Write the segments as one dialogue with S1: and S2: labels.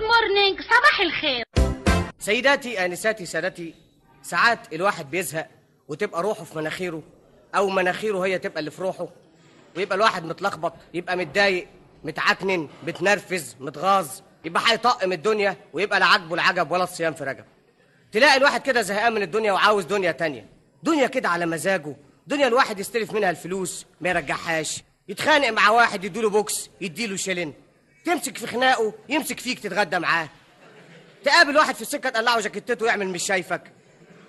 S1: خارج صباح الخير
S2: سيداتي آنساتي سادتي ساعات الواحد بيزهق وتبقى روحه في مناخيره أو مناخيره هي تبقى اللي في روحه ويبقى الواحد متلخبط يبقى متضايق متعكنن متنرفز متغاظ يبقى هيطقم الدنيا ويبقى لا عاجبه العجب ولا الصيام في رجب تلاقي الواحد كده زهقان من الدنيا وعاوز دنيا تانية دنيا كده على مزاجه دنيا الواحد يستلف منها الفلوس ما يرجعهاش يتخانق مع واحد يديله بوكس يديله شلن تمسك في خناقه يمسك فيك تتغدى معاه تقابل واحد في السكه تقلعه جاكيتته ويعمل مش شايفك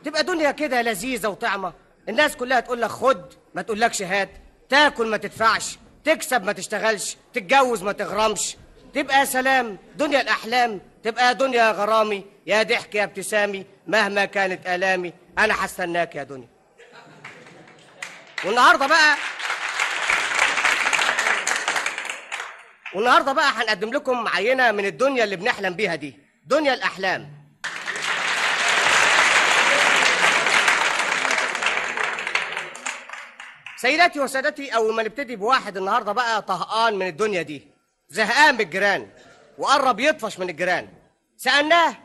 S2: تبقى دنيا كده لذيذه وطعمه الناس كلها تقول لك خد ما تقولكش هات تاكل ما تدفعش تكسب ما تشتغلش تتجوز ما تغرمش تبقى يا سلام دنيا الاحلام تبقى يا دنيا يا غرامي يا ضحك يا ابتسامي مهما كانت الامي انا هستناك يا دنيا والنهارده بقى والنهارده بقى هنقدم لكم عينه من الدنيا اللي بنحلم بيها دي دنيا الاحلام سيداتي وسادتي اول ما نبتدي بواحد النهارده بقى طهقان من الدنيا دي زهقان من الجيران وقرب يطفش من الجيران سالناه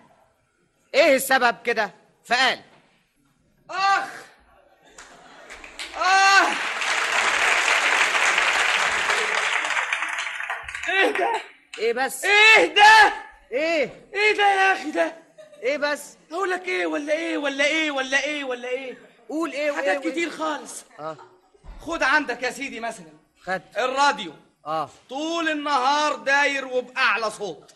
S2: ايه السبب كده فقال اخ اه
S3: آه! ايه ده؟
S2: ايه بس
S3: ايه ده؟
S2: ايه
S3: ايه ده يا اخي ده؟
S2: ايه بس
S3: اقول لك ايه ولا ايه ولا ايه ولا ايه ولا ايه؟
S2: قول ايه وايه
S3: حاجات
S2: وإيه؟
S3: كتير خالص
S2: اه
S3: خد عندك يا سيدي مثلا
S2: خدت
S3: الراديو
S2: اه
S3: طول النهار داير وبأعلى صوت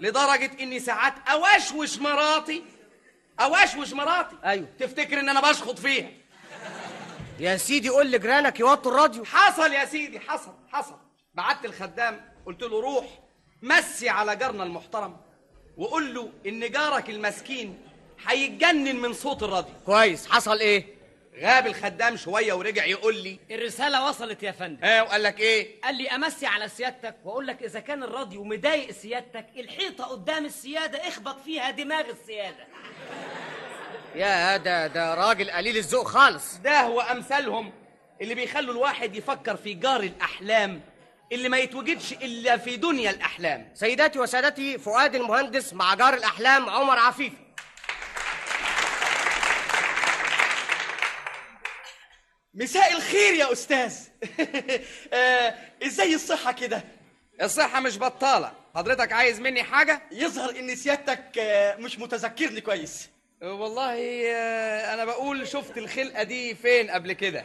S3: لدرجة إني ساعات أوشوش مراتي أوشوش مراتي
S2: أيوة.
S3: تفتكر إن أنا بشخط فيها
S2: يا سيدي قول لجيرانك يوطوا الراديو
S3: حصل يا سيدي حصل حصل بعت الخدام قلت له روح مسي على جارنا المحترم وقول له إن جارك المسكين هيتجنن من صوت الراديو
S2: كويس حصل ايه
S3: غاب الخدام شوية ورجع يقول لي
S4: الرسالة وصلت يا فندم
S3: إيه وقال لك إيه
S4: قال لي أمسي على سيادتك وأقول لك إذا كان الراديو مضايق سيادتك الحيطة قدام السيادة اخبط فيها دماغ السيادة
S2: يا ده ده راجل قليل الذوق خالص
S3: ده هو أمثالهم اللي بيخلوا الواحد يفكر في جار الأحلام اللي ما يتوجدش إلا في دنيا الأحلام
S2: سيداتي وسادتي فؤاد المهندس مع جار الاحلام عمر عفيف
S3: مساء الخير يا أستاذ آه، إزاي الصحة كده؟
S5: الصحة مش بطالة حضرتك عايز مني حاجة؟
S3: يظهر إن سيادتك آه، مش متذكرني كويس
S5: أه، والله آه، أنا بقول شفت الخلقة دي فين قبل كده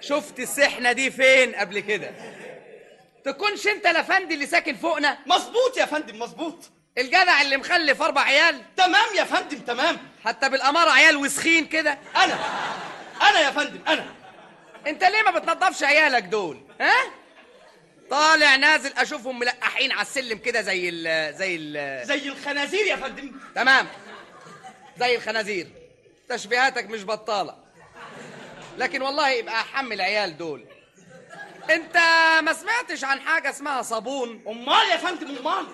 S5: شفت السحنة دي فين قبل كده تكونش أنت لا فندي اللي ساكن فوقنا
S3: مظبوط يا فندم مظبوط
S5: الجدع اللي مخلف أربع عيال
S3: تمام يا فندم تمام
S5: حتى بالأمارة عيال وسخين كده
S3: أنا أنا يا فندم أنا
S5: أنت ليه ما بتنضفش عيالك دول؟ ها؟ طالع نازل أشوفهم ملقحين على السلم كده زي ال زي ال
S3: زي الخنازير يا فندم
S5: تمام زي الخنازير تشبيهاتك مش بطالة لكن والله يبقى أحمل العيال دول انت ما سمعتش عن حاجة اسمها صابون
S3: أمال يا فندم أمال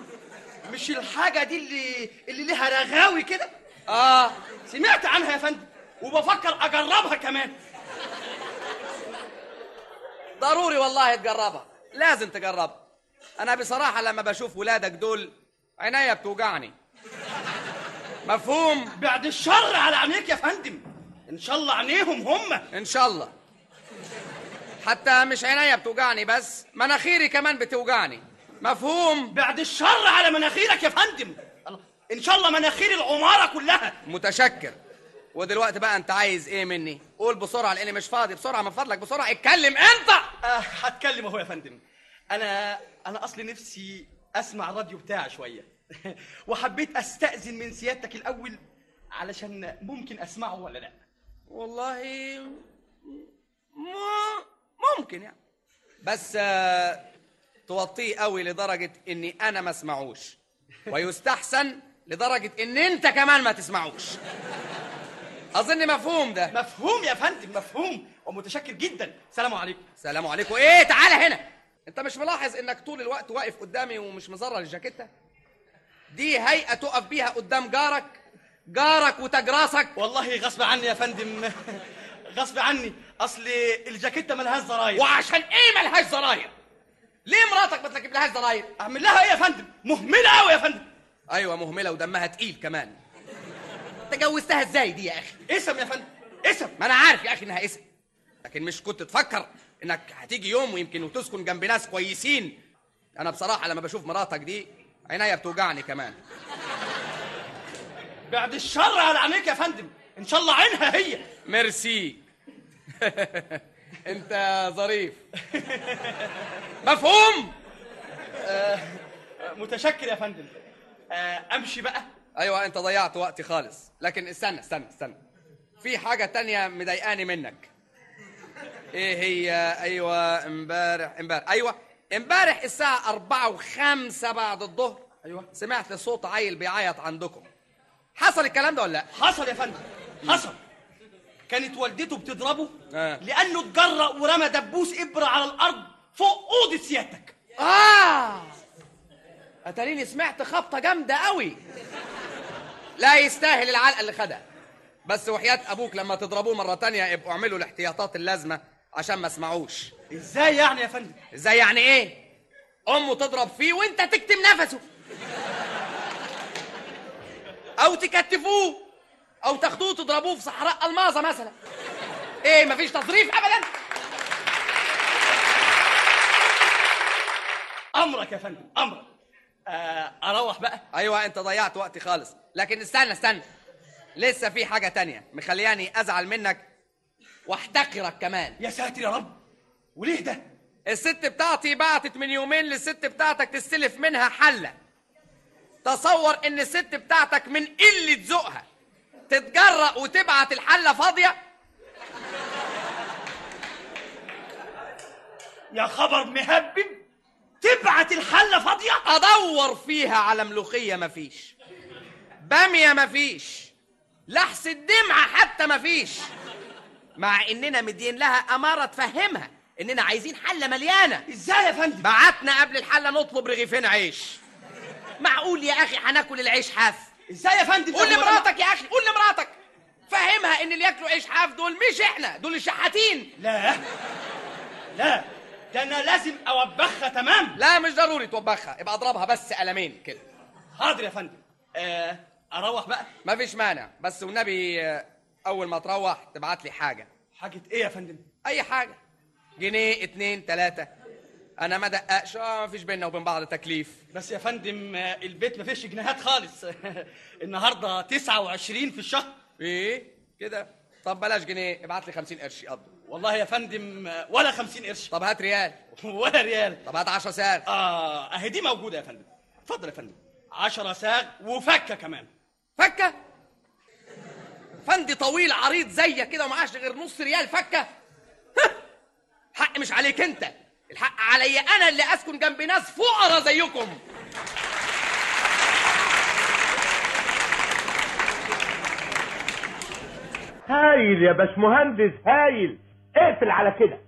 S3: مش الحاجة دي اللي اللي ليها رغاوي كده
S5: اه
S3: سمعت عنها يا فندم وبفكر أجربها كمان
S5: ضروري والله تجربها لازم تجربها انا بصراحة لما بشوف ولادك دول عينيا بتوجعني مفهوم
S3: بعد الشر على عينيك يا فندم إن شاء الله عينيهم هم
S5: ان شاء الله حتى مش عينيا بتوجعني بس مناخيري كمان بتوجعني مفهوم
S3: بعد الشر على مناخيرك يا فندم الله. إن شاء الله مناخير العمارة كلها
S5: متشكر ودلوقتي بقى انت عايز ايه مني قول بسرعه لاني مش فاضي بسرعه من فضلك بسرعه اتكلم انت
S3: آه هتكلم أهو يا فندم أنا أنا أصلي نفسي أسمع الراديو بتاعي شوية وحبيت أستأذن من سيادتك الأول علشان ممكن أسمعه ولا لأ
S5: والله م- ممكن يعني بس آه، توطيه قوي لدرجه اني انا ما اسمعوش ويستحسن لدرجه ان انت كمان ما تسمعوش اظن مفهوم ده
S3: مفهوم يا فندم مفهوم ومتشكر جدا سلام عليكم
S5: سلام عليكم ايه تعالى هنا انت مش ملاحظ انك طول الوقت واقف قدامي ومش مزرر الجاكيته دي هيئه تقف بيها قدام جارك جارك وتجراسك
S3: والله غصب عني يا فندم غصب عني اصل الجاكيته ملهاش زراير
S5: وعشان ايه ملهاش زراير ليه مراتك ما تركب لهاش زراير
S3: إيه اعمل لها ايه يا فندم مهمله قوي يا فندم
S5: ايوه مهمله ودمها تقيل كمان تجوزتها ازاي دي يا اخي
S3: اسم يا فندم اسم
S5: ما انا عارف يا اخي انها اسم لكن مش كنت تفكر انك هتيجي يوم ويمكن وتسكن جنب ناس كويسين انا بصراحه لما بشوف مراتك دي عينيا بتوجعني كمان
S3: بعد الشر على عينيك يا فندم ان شاء الله عينها هي
S5: ميرسي انت ظريف مفهوم
S3: متشكر يا فندم آه، امشي بقى
S5: ايوه انت ضيعت وقتي خالص لكن استنى استنى استنى في حاجه تانية مضايقاني منك ايه هي ايوه امبارح امبارح ايوه امبارح الساعه أربعة وخمسة بعد الظهر
S3: أيوة.
S5: سمعت صوت عيل بيعيط عندكم حصل الكلام ده ولا لا
S3: حصل يا فندم حصل كانت والدته بتضربه
S5: آه.
S3: لانه اتجرأ ورمى دبوس ابره على الارض فوق اوضه سيادتك
S5: آه أتاريني سمعت خبطة جامدة قوي لا يستاهل العلقة اللي خدها بس وحياة أبوك لما تضربوه مرة تانية يبقوا اعملوا الاحتياطات اللازمة عشان ما اسمعوش
S3: ازاي يعني يا فندم
S5: إزاي يعني إيه؟ أمه تضرب فيه وأنت تكتم نفسه أو تكتفوه أو تاخدوه تضربوه في صحراء الماظة مثلا إيه مفيش تظريف أبدا؟
S3: امرك يا فندم امرك آه، اروح بقى
S5: ايوه انت ضيعت وقتي خالص لكن استنى استنى لسه في حاجه تانية مخلياني ازعل منك واحتقرك كمان
S3: يا ساتر يا رب وليه ده
S5: الست بتاعتي بعتت من يومين للست بتاعتك تستلف منها حله تصور ان الست بتاعتك من قله ذوقها تتجرأ وتبعت الحله فاضيه
S3: يا خبر مهبب تبعت الحله فاضيه
S5: ادور فيها على ملوخيه مفيش باميه مفيش لحس الدمعه حتى مفيش مع اننا مدين لها اماره تفهمها اننا عايزين حله مليانه
S3: ازاي يا فندم
S5: بعتنا قبل الحله نطلب رغيفين عيش معقول يا اخي هناكل العيش حاف
S3: ازاي يا فندم
S5: قول
S3: ده مراتك
S5: لمراتك يا اخي قول لمراتك فهمها ان اللي ياكلوا عيش حاف دول مش احنا دول الشحاتين
S3: لا لا ده انا لازم اوبخها تمام
S5: لا مش ضروري توبخها ابقى اضربها بس قلمين كده
S3: حاضر يا فندم آه، اروح بقى
S5: ما فيش مانع بس والنبي آه، اول ما تروح تبعت لي حاجه
S3: حاجه ايه يا فندم
S5: اي حاجه جنيه اتنين تلاته انا ما دققش اه ما فيش بينا وبين بعض تكليف
S3: بس يا فندم آه، البيت ما فيش جنيهات خالص النهارده 29 في الشهر
S5: ايه كده طب بلاش جنيه ابعت لي 50 قرش يقضوا
S3: والله يا فندم آه، ولا 50 قرش
S5: طب هات ريال
S3: ولا ريال
S5: طب هات 10 سعر
S3: اه اهي دي موجوده يا فندم اتفضل يا فندم 10 ساغ وفكه كمان
S5: فكه فندي طويل عريض زيك كده ومعاش غير نص ريال فكه حق مش عليك انت الحق عليا انا اللي اسكن جنب ناس فقراء زيكم
S1: هايل يا باشمهندس هايل اقفل على كده